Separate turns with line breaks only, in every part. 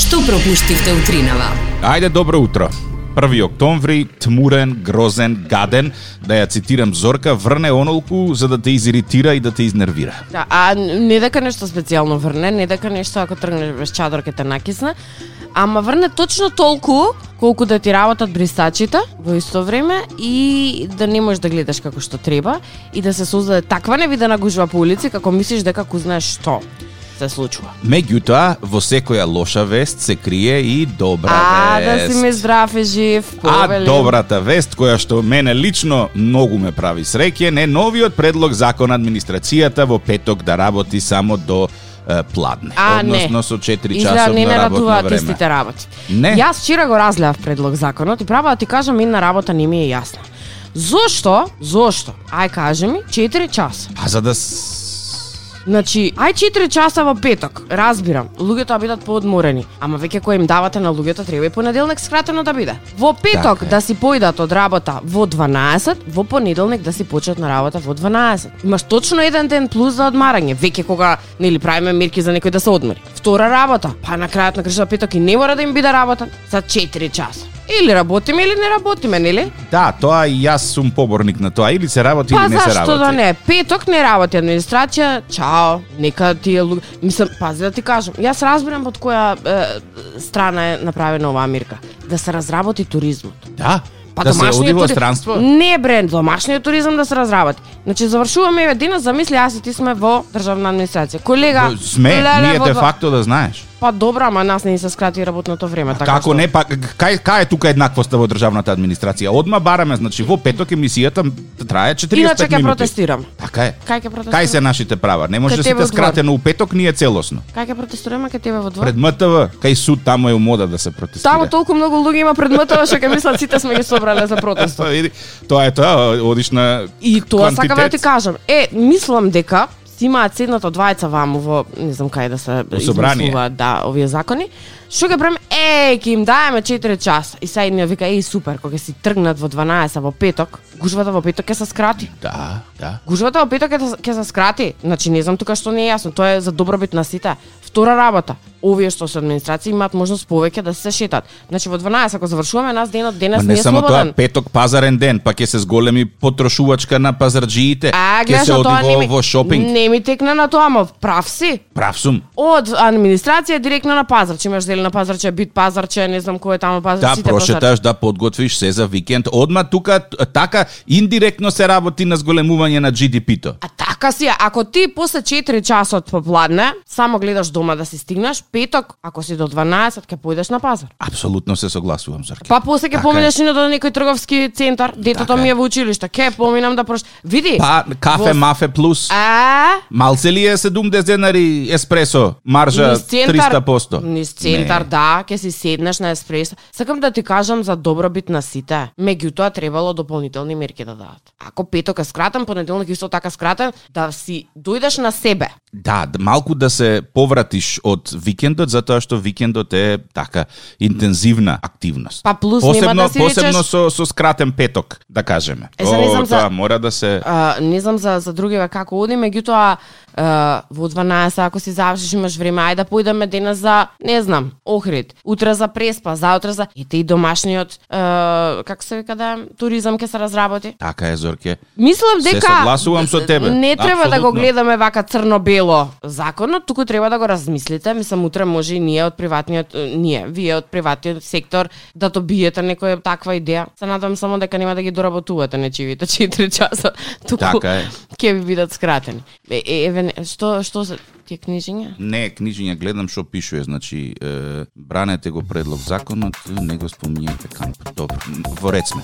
што пропуштивте утринава.
Ајде добро утро. 1 октомври, тмурен, грозен, гаден, да ја цитирам Зорка, врне онолку за да те изиритира и да те изнервира.
Да, а не дека нешто специјално врне, не дека нешто ако тргнеш без чадор ќе те накисне, ама врне точно толку колку да ти работат брисачите во исто време и да не можеш да гледаш како што треба и да се создаде таква невидена гужва по улици како мислиш дека ку знаеш што се случува.
Меѓутоа, во секоја лоша вест се крие и добра
А, да
вест.
си ме здрав и жив,
А
повели.
добрата вест која што мене лично многу ме прави среќен е новиот предлог закон администрацијата во петок да работи само до е, пладне,
А, не.
односно со 4
Изгледа
часовно
не ме
работно
радуваат
време.
истите работи.
Не.
Јас вчера го разгледав предлог законот и право да ти кажам, една работа не ми е јасна. Зошто? Зошто? Ај кажи ми, 4 часа.
А за да с-
Значи, ај 4 часа во петок, разбирам. Луѓето ја бидат поодморени, ама веќе кој им давате на луѓето треба и понеделник скратено да биде. Во петок
Така е.
да си појдат од работа во 12, во понеделник да си почнат на работа во 12. Имаш точно еден ден плюс за одмарање, веќе кога нели правиме мерки за некој да се одмори. Втора работа, па на крајот на кршата петок и не мора да им биде работа за 4 часа. Или работиме или не работиме, нели?
Да, тоа и јас сум поборник на тоа. Или се работи
Па
или не се работи.
зашто да не? Петок не работи администрација. Чао. Нека ти е луѓе. Мислам, пази да ти кажам. Јас разбирам под која е, страна е направена оваа мирка. Да се разработи туризмот.
Да?
Па
да се
домашниот
оди во
тури-
странство?
Не бре, домашниот туризам да се разработи. Значи завршуваме еве денес, замисли јас и ти сме во државна администрација. Колега,
Сме,
леле,
ние
во-
де факто да знаеш.
Па добра, ама нас не ни се скрати работното време, така
Како
што-
не, па кај кај е тука еднаквоста во државната администрација? Одма бараме, значи во петок емисијата трае 45
Иначе ќе
минути.
протестирам.
Така е.
Кај ќе протестирам?
Кај се нашите права? Не
Кај
може да
тебе
сите
во двор.
скратено у петок, ние целосно.
Кај ќе протестираме кај тебе во двор?
Пред МТВ, кај суд таму е у мода да се протестира.
Таму толку многу луѓе има пред МТВ што ќе мислат сите сме ги собрале за протест.
Тоа види, тоа е тоа, одиш на
И тоа
квантитет.
сакам да ти кажам. Е, мислам дека си имаат седното двајца ваму во не знам кај да се
собрание.
измислуваат да овие закони. Што ќе правиме? Е, ќе им даваме 4 часа. И сега едниот вика, еј супер, кога си тргнат во 12 во петок, гужвата во петок ќе се скрати.
Да, да.
Гужвата во петок ќе се- ќе се скрати. Значи не знам тука што не е јасно, тоа е за добробит на сите. Втора работа. Овие што се администрација имаат можност повеќе да се шетат. Значи во 12 ако завршуваме, нас денот денес
Ма
не,
не
е
само
слободен.
тоа, петок пазарен ден, па ќе се зголеми потрошувачка на пазарџиите,
А,
ќе
гледаш,
се
а
оди
тоа не
во,
ми,
во шопинг.
Не ми текна на тоа, ама прав си.
Прав сум.
Од администрација директно на пазарче, имаш дели на пазарче, бит пазарче, не знам кој е таму пазар,
Да
сите па пазарче.
прошеташ, да подготвиш се за викенд. Одма тука т- така индиректно се работи на зголемување на GDP-то.
А така си, е. ако ти после 4 часот попладне, само гледаш дома да си стигнеш, петок, ако си до 12, ќе поидеш на пазар.
Апсолутно се согласувам, Зорки.
Па после ќе
Така
поминеш и на до некој трговски центар, детото
Така е.
ми е во училиште, ќе поминам да прош... Види,
Па кафе
Во-
мафе плюс.
А,
Малце ли е 70 денари еспресо, маржа
Низ центар,
300%?
Низ центар,
Не.
да, ќе си седнеш на еспресо. Сакам да ти кажам за добробит на сите. Меѓутоа требало дополнителни мерки да дадат. Ако петок е скратен, понеделник исто така скратен, да си дојдеш на себе.
Да, д- малку да се повратиш од викендот, затоа што викендот е така интензивна активност.
Па плюс
посебно,
нема да си
посебно
речеш-
со, со скратен петок, да кажеме.
Е, за не знам за-
тоа мора да се...
А, не знам за за другиве како оди, меѓутоа а, во 12 ако си завршиш имаш време, ајде да поидеме денес за не знам, Охрид, утре за Преспа, заутре за ете и домашниот а, како се вика да туризам ќе се разработи.
Така е, Зорке.
Мислам
Се
дека
согласувам со тебе.
Не треба да го
Апсолутно.
гледаме вака црно-бело законот, туку треба да го размислите. Мислам утре може и ние од приватниот е, ние, вие од приватниот сектор да добиете некоја таква идеја. Се надевам само дека нема да ги доработувате нечивите 4 часа. Туку
Така е.
Ќе ви бидат скратени. Е, е, еве не- што што се тие книжиња?
Не, книжиња гледам што пишува, значи е, бранете го предлог законот, не го спомнете камп. Добро, во ред сме.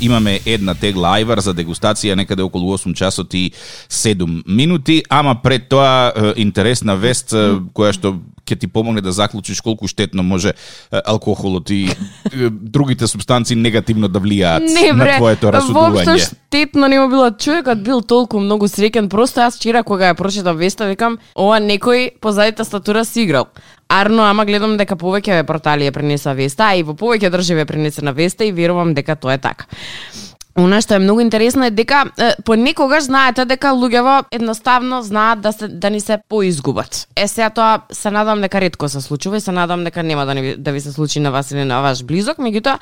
имаме една тегла ајвар за дегустација некаде околу 8 часот и 7 минути, ама пред тоа е, интересна вест е, која што ќе ти помогне да заклучиш колку штетно може е, алкохолот и е, другите субстанции негативно да влијаат
Не
на
бре,
твоето
воопшто
расудување.
штетно не му било човекот бил толку многу среќен. Просто јас вчера кога ја прочитав веста викам, ова некој позадите статура си играл. Арно, ама гледам дека повеќе ве портали ја пренеса веста, а и во повеќе држави ја пренесена веста и верувам дека тоа е така. Она што е многу интересно е дека е, понекогаш знаете дека луѓето едноставно знаат да се да ни се поизгубат. Е сега тоа се надам дека ретко се случува и се надам дека нема да ни ви- да ви се случи на вас или на ваш близок, меѓутоа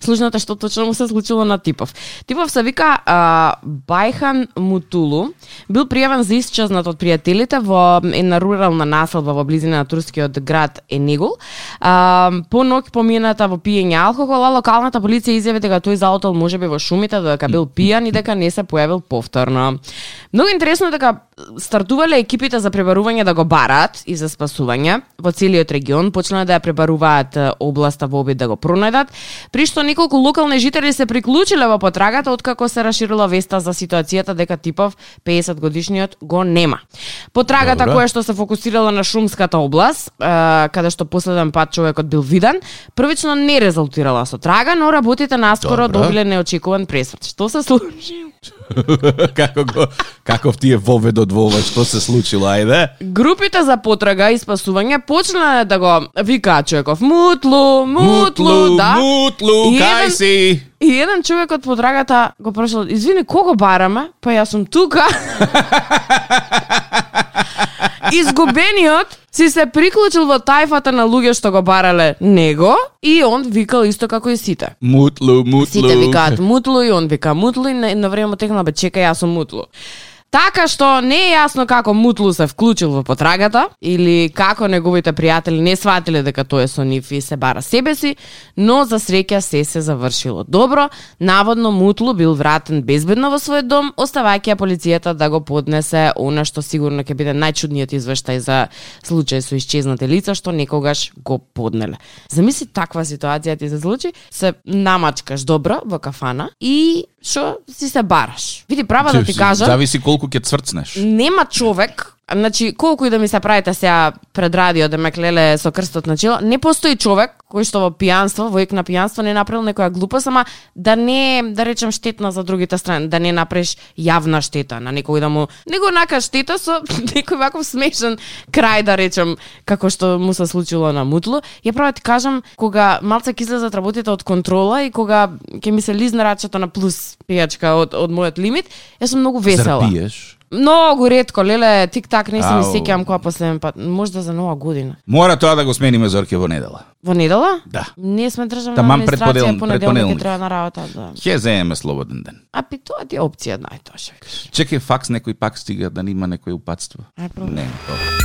слушнате што точно му се случило на Типов. Типов се вика а, Бајхан Мутулу, бил пријавен за исчезнат од пријателите во една рурална населба во близина на турскиот град Енигул. А, по ноќ помината во пиење алкохол, а локалната полиција изјави дека тој заотел можеби во шумите дека бил пијан и дека не се појавил повторно. Многу интересно е дека стартувале екипите за пребарување да го барат и за спасување во целиот регион, почнале да ја пребаруваат е, областа во обид да го пронајдат, при што неколку локални жители се приклучиле во потрагата откако се расширила веста за ситуацијата дека Типов 50 годишниот го нема. Потрагата
Добра.
која која што се фокусирала на Шумската област, е, каде што последен пат човекот бил виден, првично не резултирала со трага, но работите наскоро
Добра.
добиле неочекуван пресврт. Што се случи?
како го, каков ти е вовед од вова, што се случило, ајде?
Групите за потрага и спасување почнале да го викаат човеков мутлу, мутлу, да.
мутлу,
И
кај
еден-
си?
И еден човек од подрагата го прашал, извини, кого бараме? Па јас сум тука. Изгубениот си се приклучил во тајфата на луѓе што го барале него и он викал исто како и сите.
Мутлу, мутлу.
Сите викаат мутлу и он вика мутлу и на, на време му текна бе чекај јас сум мутлу. Така што не е јасно како Мутлу се вклучил во потрагата или како неговите пријатели не сватиле дека тој е со нив и се бара себе си, но за среќа се се завршило добро. Наводно Мутлу бил вратен безбедно во својот дом, оставајќи ја полицијата да го поднесе она што сигурно ќе биде најчудниот извештај за случај со исчезнати лица што некогаш го поднеле. Замисли таква ситуација ти се случи, се намачкаш добро во кафана и што си се бараш. Види, права да ти кажам,
Зависи колку ќе цврцнеш.
нема човек, значи колку и да ми се правите сега пред радио да ме клеле со крстот на чело, не постои човек кој што во пијанство, во ек на пијанство не направил некоја глупост, ама да не е, да речем штетна за другите страни, да не направиш јавна штета на некој да му него нака штета со некој ваков смешен крај да речем како што му се случило на Мутлу. Ја право ти кажам кога малце ќе излезат работите од контрола и кога ќе ми се лизне рачето на плюс пијачка од од мојот лимит, јас сум многу весела.
Зар пиеш?
Многу ретко, леле, тик-так, не се ми
Ау.
сеќавам која последен пат. Можда за нова година.
Мора тоа да го смениме Зорке во недела.
Во недела?
Да.
Ние сме државна
Таман
администрација,
предподелник, предподелник.
понеделник ќе треба на работа. Да.
Ќе земеме слободен ден.
А пи тоа ти е опција најтоа што викаш.
Чекај факс некој пак стига да нема некој упатство.
Ај, пробај.
Не, добро.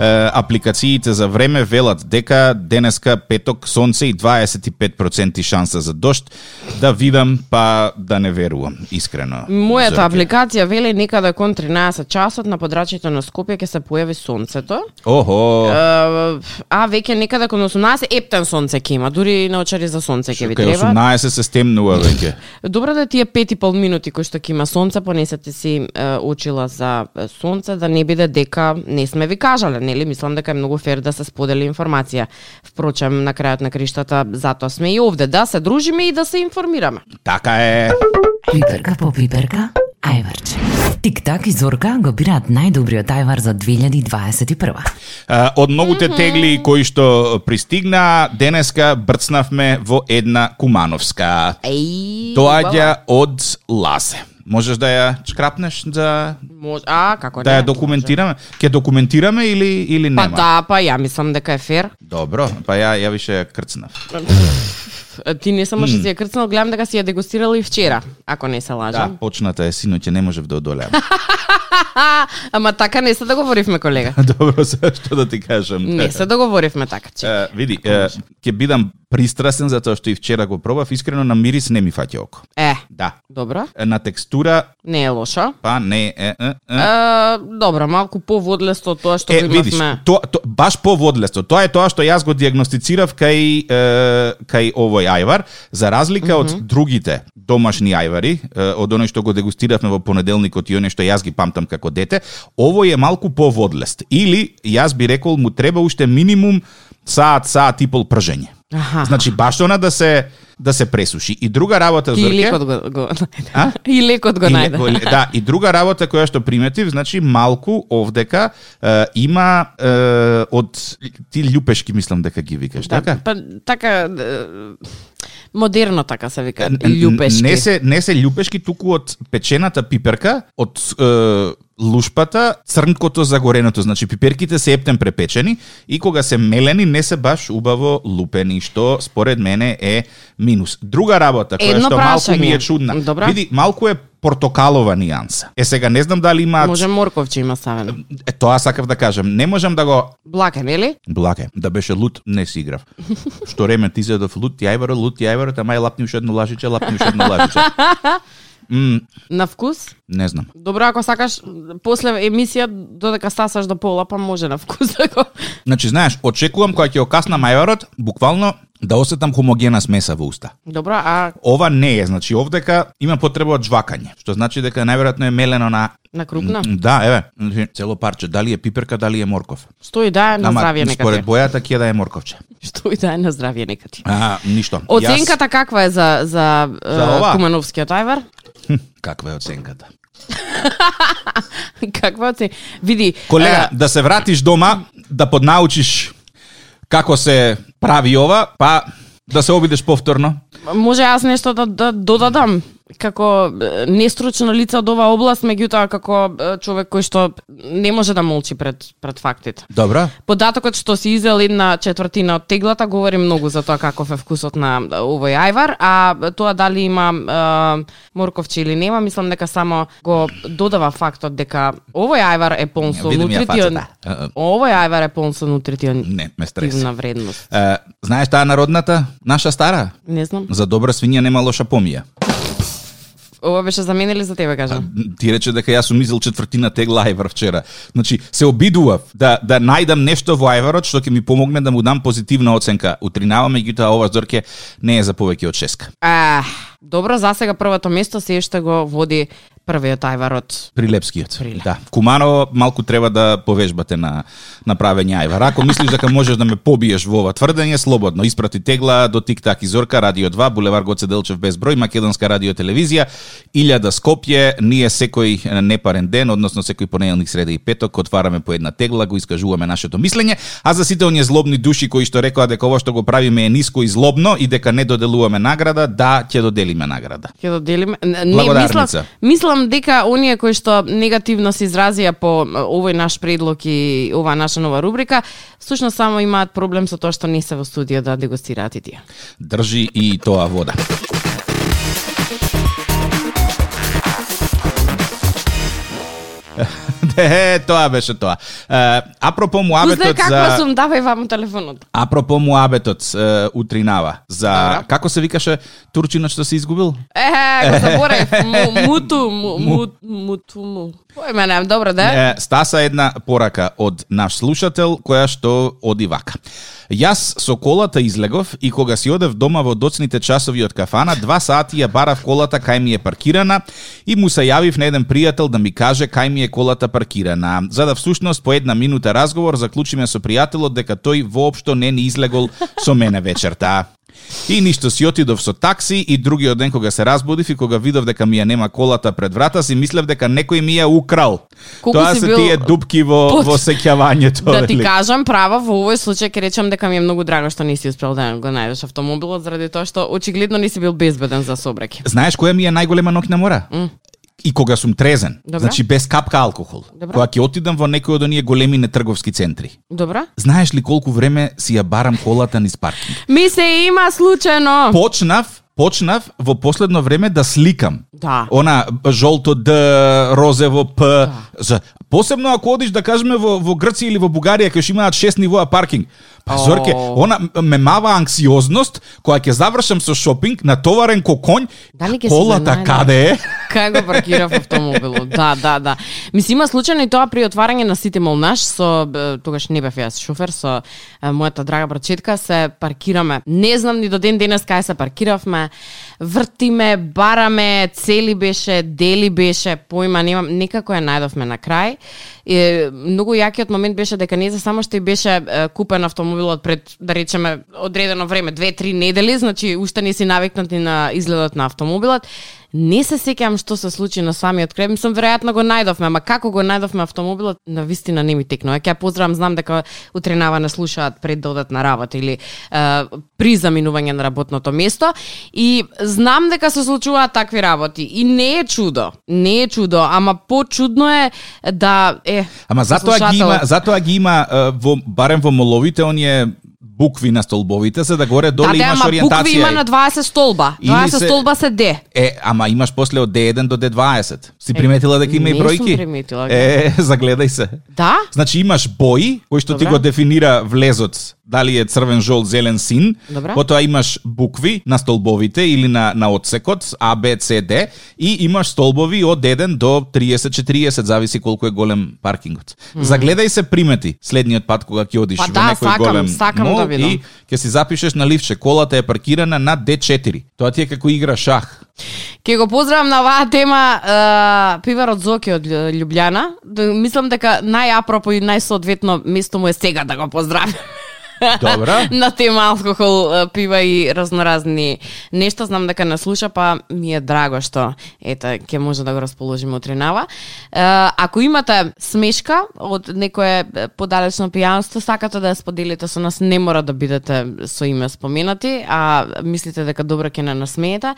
Е, апликациите за време велат дека денеска петок сонце и 25% шанса за дошт. Да видам, па да не верувам, искрено.
Мојата
Зорке.
апликација вели некаде кон 13 часот на подрачјето на Скопје ќе се појави сонцето.
Охо.
А, а веќе некаде кон 18 ептен сонце ќе има, дури и наочари за сонце ќе ви
Кај
треба.
18 се стемнува веќе.
Добро да тие пет и пол минути кои што ќе има сонце, понесете си е, очила за е, сонце, да не биде дека не сме ви кажале, нели? Мислам дека е многу фер да се сподели информација. Впрочем, на крајот на криштата, затоа сме и овде, да се дружиме и да се информираме.
Така е.
Пиперка по пиперка, ајварче. Тик-так и Зорка го бираат најдобриот ајвар за 2021.
А, Од многуте тегли кои што пристигна, денеска брцнавме во една кумановска.
Еј,
Доаѓа од Ласе. Можеш да ја чкрапнеш за
Мож... А, како
да
не?
ја документираме? Ќе документираме или или
Па
нема?
да, па ја мислам дека е фер.
Добро, па ја ја више ја крцнав.
Е, Ти не само што си ја крцнал, гледам дека си ја дегустирала и вчера, ако не се лажам.
Да, почната е синоќе, не можев да одолеам.
А, ама така не се договоривме, колега.
Добро, се што да ти кажам.
Не се договоривме така, че.
Е, види, е, ќе бидам пристрасен затоа што и вчера го пробав, искрено на мирис не ми фаќа око.
Е,
Да.
добро,
Е, На текстура
не е лошо.
па не е. е, е.
Е, добро, малку поводлесто од тоа што
Е,
го
видиш,
имавме.
то, то, баш по водлесто. Тоа е тоа што јас го диагностицирав кај, е, кај овој ајвар, за разлика mm -hmm. од другите домашни ајвари, е, од оној што го дегустиравме во понеделникот и оној што јас ги памтам како дете, овој е малку по водлест. Или, јас би рекол, му треба уште минимум саат, саат и пол пржење.
Аха.
Значи, баш она да се да се пресуши. И друга работа,
И
Зорке...
лекот го, го најде.
А?
И лекот го
И
најде.
леко- да, и друга работа која што приметив, значи малку овдека е, има е, од ти љупешки мислам дека ги викаш,
Да,
така?
Па, така, е, модерно така се вика,
Н- н-
љупешки.
Не се не се љупешки туку од печената пиперка, од е, лушпата, црнкото загореното, значи пиперките се ептен препечени и кога се мелени не се баш убаво лупени, што според мене е минус. Друга работа која
Едно
што малку ми е
прашање.
чудна.
Добра.
Види, малку е портокалова нијанса. Е сега не знам дали има
Може морковче има савено.
Е, тоа сакав да кажам. Не можам да го
Блака, нели?
Блаке, да беше лут, не си играв. Што реме ти зедов лут, јајваро, лут, јајваро, тама е лапни уште едно лажиче, лапни уште едно лажиче.
На вкус?
Не знам.
Добро, ако сакаш, после емисија, додека стасаш до пола, па може на вкус да го...
Значи, знаеш, очекувам кога ќе окасна мајварот, буквално да осетам хомогена смеса во уста.
Добро, а
Ова не е, значи овдека има потреба од жвакање, што значи дека најверојатно е мелено на
на крупна?
М, Да, еве, значи, цело парче, дали е пиперка, дали е морков.
Што и да е на
Ама,
здравје нека
според
ти.
бојата ќе да е морковче.
Што и да е на здравје нека ти.
А, ништо.
Оценката каква е за, за,
За
е,
ова?
Кумановскиот ајвар?
Јас... Каква е оценката?
Каква оцен... Види,
Колега,
е,
да се вратиш дома, да поднаучиш како се прави ова, па да се обидеш повторно.
може јас нешто да, да додадам како е, нестручно лице од оваа област, меѓутоа како е, човек кој што не може да молчи пред пред фактите.
Добра.
Податокот што си изел една четвртина од теглата говори многу за тоа каков е вкусот на е, овој ајвар, а тоа дали има е, морковче или нема, мислам дека само го додава фактот дека овој ајвар е полн со
Видам ја
нутритион.
фацата. Е, е.
Овој ајвар е полн со нутритион.
Не, ме стреси.
Тивна вредност.
Е, знаеш таа народната, наша стара,
Не знам.
за добра свиња нема лоша помија.
Ова беше за мене или за тебе кажам?
Ти рече дека јас сум изел четвртина тегла ајвар вчера. Значи, се обидував да да најдам нешто во ајварот што ќе ми помогне да му дам позитивна оценка. Утринава меѓутоа ова зорке не е за повеќе од шеска.
А, добро, за сега првото место се уште го води првиот ајвар од
Прилепскиот. Да. Куманово малку треба да повежбате на на правење ајвар. Ако мислиш дека можеш да ме побиеш во ова тврдење, слободно испрати тегла до Тик-так и Зорка, Радио 2, Булевар Гоце Делчев без број, Македонска радио телевизија, Илјада Скопје, ние секој е, непарен ден, односно секој понеделник, среда и петок, отвараме по една тегла, го искажуваме нашето мислење, а за сите оние злобни души кои што рекоа дека ова што го правиме е ниско и злобно и дека не доделуваме награда, да, ќе доделиме награда.
ќе доделиме. Не, мислам,
Благодарница.
мислам дека оние кои што негативно се изразија по е, овој наш предлог и оваа наша нова рубрика, всушност само имаат проблем со тоа што не се во студио да дегустираат и тие.
Држи и тоа вода. Е, тоа беше тоа. Е, апропо
Кузне
муабетот
каква
за...
сум, давај вам телефонот.
Апропо муабетот е, утринава за...
Добра.
Како се викаше турчинот што се изгубил?
Е, го заборев, Му- муту, му- му- муту, му. Појме немам, добро да? е?
Е, стаса една порака од наш слушател која што оди вака. Јас со колата излегов и кога си одев дома во доцните часови од кафана, два сати ја барав колата кај ми е паркирана и му се јавив на еден пријател да ми каже кај ми е колата паркирана. За да всушност по една минута разговор заклучиме со пријателот дека тој воопшто не ни излегол со мене вечерта. И ништо си отидов со такси и другиот ден кога се разбудив и кога видов дека ми ја нема колата пред врата си мислев дека некој ми ја украл.
Колку
Тоа
си
се
бил
тие дупки во
под-
во сеќавањето.
Да ти
вели.
кажам право, во овој случај ќе речам дека ми е многу драго што не си успел да го најдеш автомобилот заради тоа што очигледно не си бил безбеден за собраке.
Знаеш која ми е најголема ноќна мора? И кога сум трезен,
Добра.
значи без капка алкохол,
Добра.
кога ќе отидам во некој од оние големи нетрговски центри.
Добра?
Знаеш ли колку време си ја барам колата низ паркинг?
Ми се има случајно.
Почнав, почнав во последно време да сликам.
Да.
Она жолто Д, розево П.
Да.
За посебно ако одиш да кажеме во во Грција или во Бугарија кај што имаат шест нивоа паркинг. Па
О.
зорке, она м- ме мава анксиозност која ќе завршам со шопинг, натоварен ко конј.
Дали Да ќе се
Колата
занајде?
каде е?
Кај го паркирав автомобилот? Да, да, да. Мислим, има случајно и тоа при отварање на Сити Мол наш, со, е, тогаш не бев јас шофер, со е, мојата драга брачетка, се паркираме. Не знам ни до ден денес кај се паркиравме. вртиме, бараме, цели беше, дели беше, појма немам, некако ја најдовме на крај. И, многу јакиот момент беше дека не за само што и беше е, купен автомобилот пред, да речеме, одредено време, две-три недели, значи уште не си навикнати на изгледот на автомобилот. Не се сеќавам што се случи на самиот крем, сум веројатно го најдовме, ама како го најдовме автомобилот, на вистина не ми текнува. Ќе ја поздравам, знам дека утренава не слушаат пред да одат на работа или е, при заминување на работното место и знам дека се случуваат такви работи и не е чудо, не е чудо, ама почудно е да е
Ама затоа ги има,
слушателот-
затоа ги има е, во барем во моловите оние букви на столбовите, за да горе доле
да,
имаш
ама букви
ориентација.
има на 20 столба.
Или
20
се-
столба се де.
Е, ама имаш после од D1 до D20. Си приметила дека има и
не
бројки?
сум приметила,
Е, загледај се.
Да?
Значи имаш бои кои што ти го
Добра.
дефинира влезот, дали е црвен, жол, зелен, син.
Добра.
Потоа имаш букви на столбовите или на на одсекот А, Б, С, Д и имаш столбови од 1 до 30-40, зависи колку е голем паркингот. Загледај се примети следниот пат кога ќе одиш
Па
во
да,
некој
сакам,
голем
сакам
мол
да видам.
и ќе си запишеш на ливче колата е паркирана на D4. Тоа ти е како игра шах.
Ке го поздравам на оваа тема е, пивар од Зоки од Лю- Лјубљана. Д- Мислам дека најапропо и најсоодветно место му е сега да го поздравам.
Добра.
на тема алкохол, е, пива и разноразни нешта. Знам дека не слуша, па ми е драго што ете, ќе може да го расположиме утринава. Е, Ако имате смешка од некое е, подалечно пијанство, сакате да ја споделите со нас, не мора да бидете со име споменати, а мислите дека добро ќе не насмеете,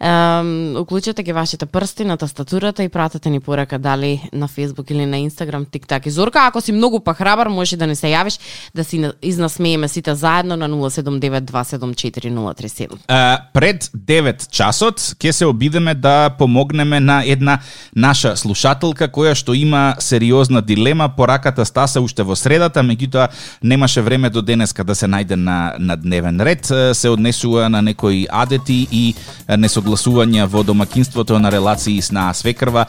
ем, уклучете ги вашите прсти на тастатурата и пратете ни порака дали на Facebook или на Instagram, TikTok и Зорка. Ако си многу па храбар, можеш и да не се јавиш, да си на- изнасмееме сите заедно на 079274037.
А, пред 9 часот ќе се обидеме да помогнеме на една наша слушателка која што има сериозна дилема, пораката стаса уште во средата, меѓутоа немаше време до денеска да се најде на, на дневен ред, Е, се однесува на некои адети и е, несогласувања во домакинството на релации сна свекрва.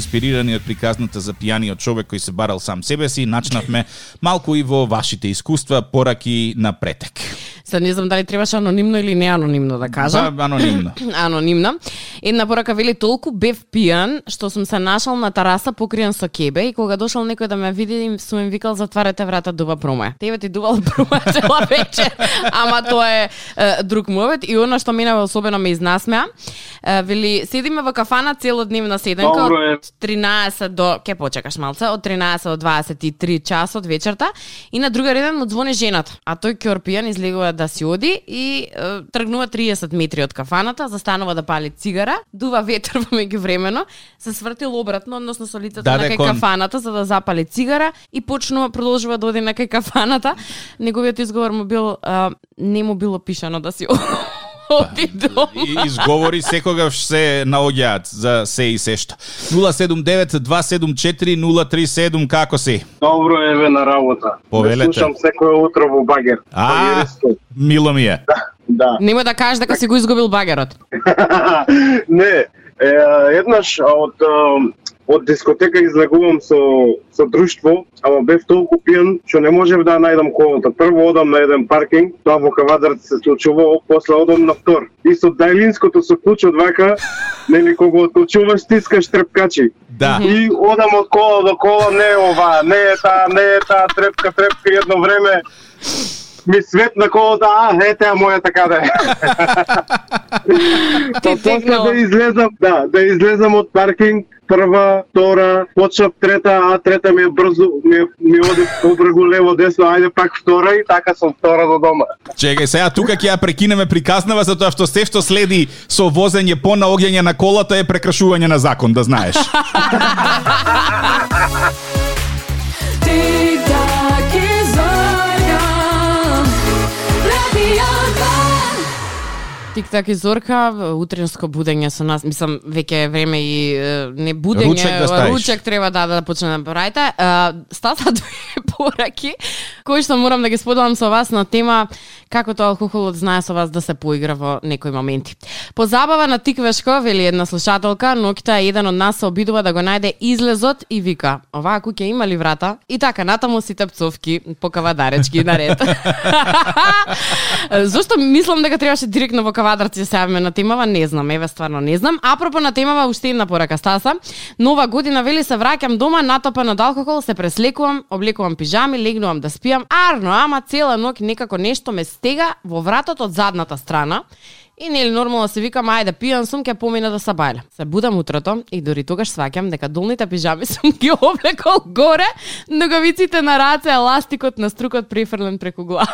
инспирирани од приказната за пијаниот човек кој се барал сам себе си, начнавме малку и во вашите искуства, пораки на претек.
Се не знам дали требаше анонимно или не анонимно да кажам.
За анонимно.
анонимна. Една порака вели толку бев пијан што сум се нашал на тараса покриен со кебе и кога дошол некој да ме види им сум им викал затварете врата дуба проме. Тебе ти дувал проме цела вечер. Ама тоа е, е друг мовет и она што мене особено ме изнасмеа. Е, вели седиме во кафана целодневна седенка
Добро е.
од 13 до ќе почекаш малце од 13 до 23 часот вечерта и на друга ден му звони жената, а тој кјор пијан излегува да си оди и е, тргнува 30 метри од кафаната, застанува да пали цигара, дува ветер во меѓувремено, се свртил обратно, односно со лицето
Даде
на кај
кон.
кафаната за да запали цигара и почнува продолжува да оди на кај кафаната. Неговиот изговор му бил а, не му било пишано да си оди дома.
И изговори секогаш се наоѓаат за се и се што. 079-274-037, како си?
Добро еве на работа.
Повелете.
Ве Слушам секој утро во багер. Во
А,
Јериско.
мило ми е.
Да.
Нема да кажеш дека си го изгубил багерот.
Не, е, еднаш а, од е, од дискотека излегувам со со друштво, ама бев толку пијан што не можев да ја најдам колата. Прво одам на еден паркинг, тоа во Кавадарт се случува, после одам на втор. И со дајлинското со клуч од вака, нели кога отклучуваш стискаш трепкачи.
Да.
И одам од кола до кола, не е ова, не е таа, не е таа, трепка, трепка, и едно време ми свет на колата, а, ете, а моја така да е. Па после
текнала.
да излезам, да, да излезам од паркинг, прва, втора, почнав трета, а трета ми е брзо, ми, е- ми оди побрегу лево, десно, ајде пак втора и така сум втора до дома.
Чекај, сега тука ќе ја прекинеме приказнава затоа што се што следи со возење по наоѓање на колата е прекршување на закон, да знаеш.
Тик-так и Зорка, утринско будење со нас, мислам, веќе е време и е, не будење,
Ручек да ставиш.
ручек треба да, да, да почне да правите. Е, Стаса две пораки кои што морам да ги споделам со вас на тема како тоа алкохолот знае со вас да се поигра во некои моменти. Позабава на Тиквешко, вели една слушателка, ноќта еден од нас се обидува да го најде излезот и вика, оваа куќа има ли врата? И така натаму сите пцовки, по кавадаречки наред. Зошто мислам дека требаше директно во кавадарци да се јавиме на темава, не знам, еве стварно не знам. Апропо на темава уште една порака Стаса. Нова година вели се враќам дома, натопен од алкохол, се преслекувам, облекувам пижами, легнувам да спијам. Арно, ама цела ноќ некако нешто ме стега во вратот од задната страна. И нели нормално се викам, ајде пијан сум, ќе помина до сабајле. Се будам утрото и дури тогаш сваќам дека долните пижами сум ги облекол горе, ноговиците на раце, еластикот на струкот префрлен преку глава.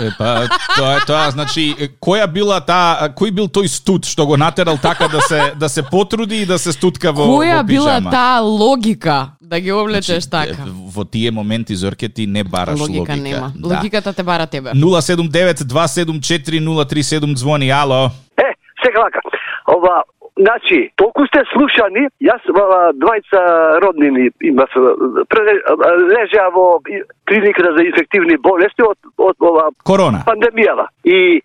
Е, па, тоа е тоа, значи, е, која била таа, кој бил тој студ што го натерал така да се да се потруди и да се стутка во
Која
во
била
пижама? Значи,
таа логика да ги облечеш
Е,
така?
Во тие моменти Зорке ти не бараш логика.
Логика нема.
Да.
Логиката те бара тебе.
079-274-037 звони, ало.
Е, сега вака. Ова, значи, толку сте слушани, јас а, двајца роднини има се, преле- а, а, лежеа во и- клиника за инфективни болести од, од ова
Корона.
пандемијава. И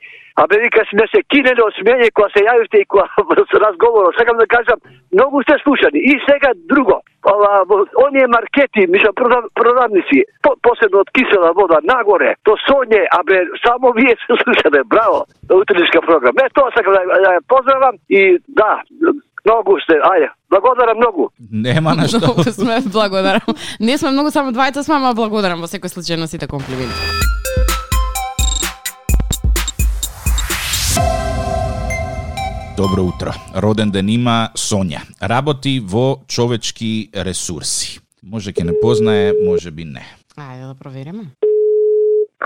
Америка сме се кинеле од смење која се јавивте и која со разговорот. Сакам да кажам, многу сте слушани. И сега друго, ова, во оние маркети, мислам, прода- продавници, по, посебно од кисела вода, нагоре, то соње, а бе, само вие се слушате, браво, утреничка програма. Е, тоа сакам да, ја- да ја поздравам и да, многу сте, ајде, благодарам многу.
Нема на што.
Многу сме благодарам. Не сме многу само двајца сме, ама благодарам во секој случај на сите комплименти.
Добро утро. Роден ден има Сонја. Работи во човечки ресурси. Може ќе не познае, може би не.
Ајде да провериме.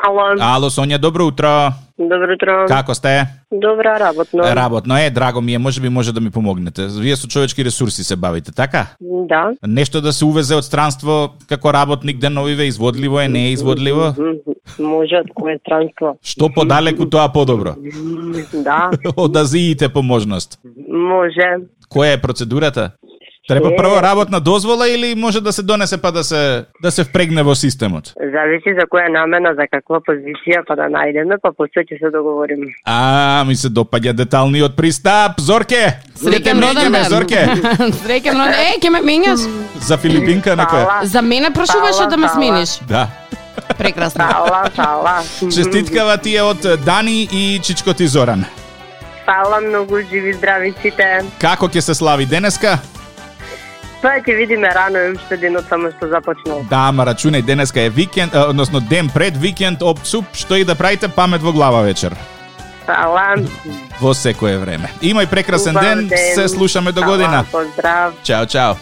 Ало,
Ало, Сонја, добро утро.
добро утро.
Како сте?
Добра работно.
Работно е, драго ми е, може би може да ми помогнете. Вие со човечки ресурси се бавите, така?
Да.
Нешто да се увезе од странство како работник деновиве, изводливо е, не е изводливо?
Мгм. Може од кое странство?
Што подалеку тоа подобро.
Да,
Од Азиите по можност.
може.
Која е процедурата? Треба
Е.
прво работна дозвола или може да се донесе па да се да се впрегне во системот?
Зависи за која намена, за каква позиција, па да најдеме, па после ќе се договориме.
А, ми се допаѓа деталниот пристап. Зорке!
Среќен
Ќе те
роден
менјаме,
ден.
Зорке!
Среќен роден. Е, ќе ме менјаш?
За Филипинка некоја.
Фала,
За мене прашуваше
Фала,
да ме
фала.
смениш.
Да.
Прекрасно.
фала, фала.
Честиткава ти е од Дани и Чичко ти Зоран.
Фала многу, живи здрави сите.
Како ќе се слави денеска?
Тоа ќе видиме рано, им што денот само што започнал.
Да, ама рачунај, денеска е викенд, а, односно ден пред викенд, опцуп, што и да правите памет во глава вечер.
Фала.
Во секое време. Имај прекрасен
убав
ден, се слушаме до година.
Фала, поздрав.
Чао, чао.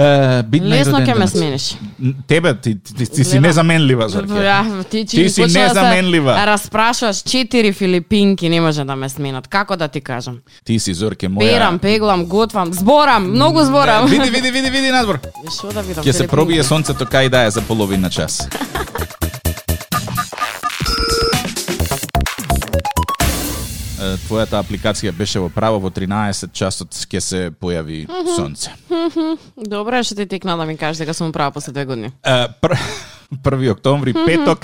Е, бидна е
Лесно
роден
ќе ме
денес.
смениш.
Н- Тебе, ти, ти, ти, ти си
Гледа.
незаменлива, Зорке.
Ја, ти,
Ти си незаменлива.
Да се распрашуваш четири филипинки, не може да ме сменат. Како да ти кажам?
Ти си, Зорке, моја...
Перам, пеглам, готвам, зборам, многу зборам.
Е, Види, види, види, види, надвор.
Што да видам?
Ќе се
филипинки?
пробие сонцето кај да е за половина час. Е, Твојата апликација беше во право во 13 часот ќе се појави сонце.
Добро е што ти текна да ми кажеш дека сум права после две години.
Е, пр- 1 октомври, петок,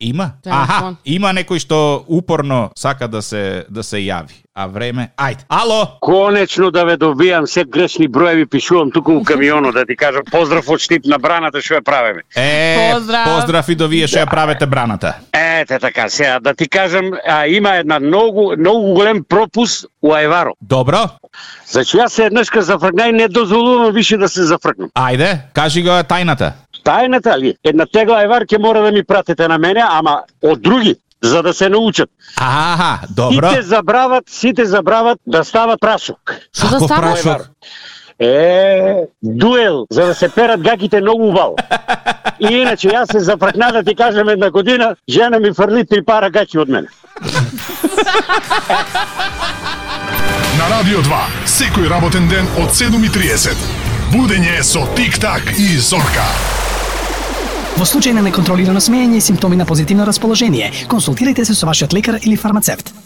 има?
Телефон.
Аха, има некој што упорно сака да се да се јави. А време, ајде. Ало,
Конечно да ве добијам, се грешни броеви пишувам туку у камионот да ти кажам поздрав од Штип на браната што ја правиме.
е,
Поздрав.
поздрав и до вие што ја правите браната.
Ете така, сега да ти кажам, а, има една многу многу голем пропус у Ајваро.
Добро,
Значи јас се еднашка зафркна и не дозволувам више да се зафркнам.
ајде, кажи го тајната.
Тајната ли? Една тегла Ајвар ќе мора да ми пратите на мене, ама од други за да се научат.
Аха, добро.
Сите забрават, сите забрават да стават прашок.
Што да
Како
става?
прашок?
Е, дуел, за да се перат гаките многу убаво. И иначе, јас се запракна да ти кажам една година, жена ми фрли три пара гачи од мене.
На Радио 2, секој работен ден од 7.30. Будење со Тик-так и Зорка.
Во случај на неконтролирано смеење и симптоми на позитивно расположение, консултирайте се со вашиот лекар или фармацевт.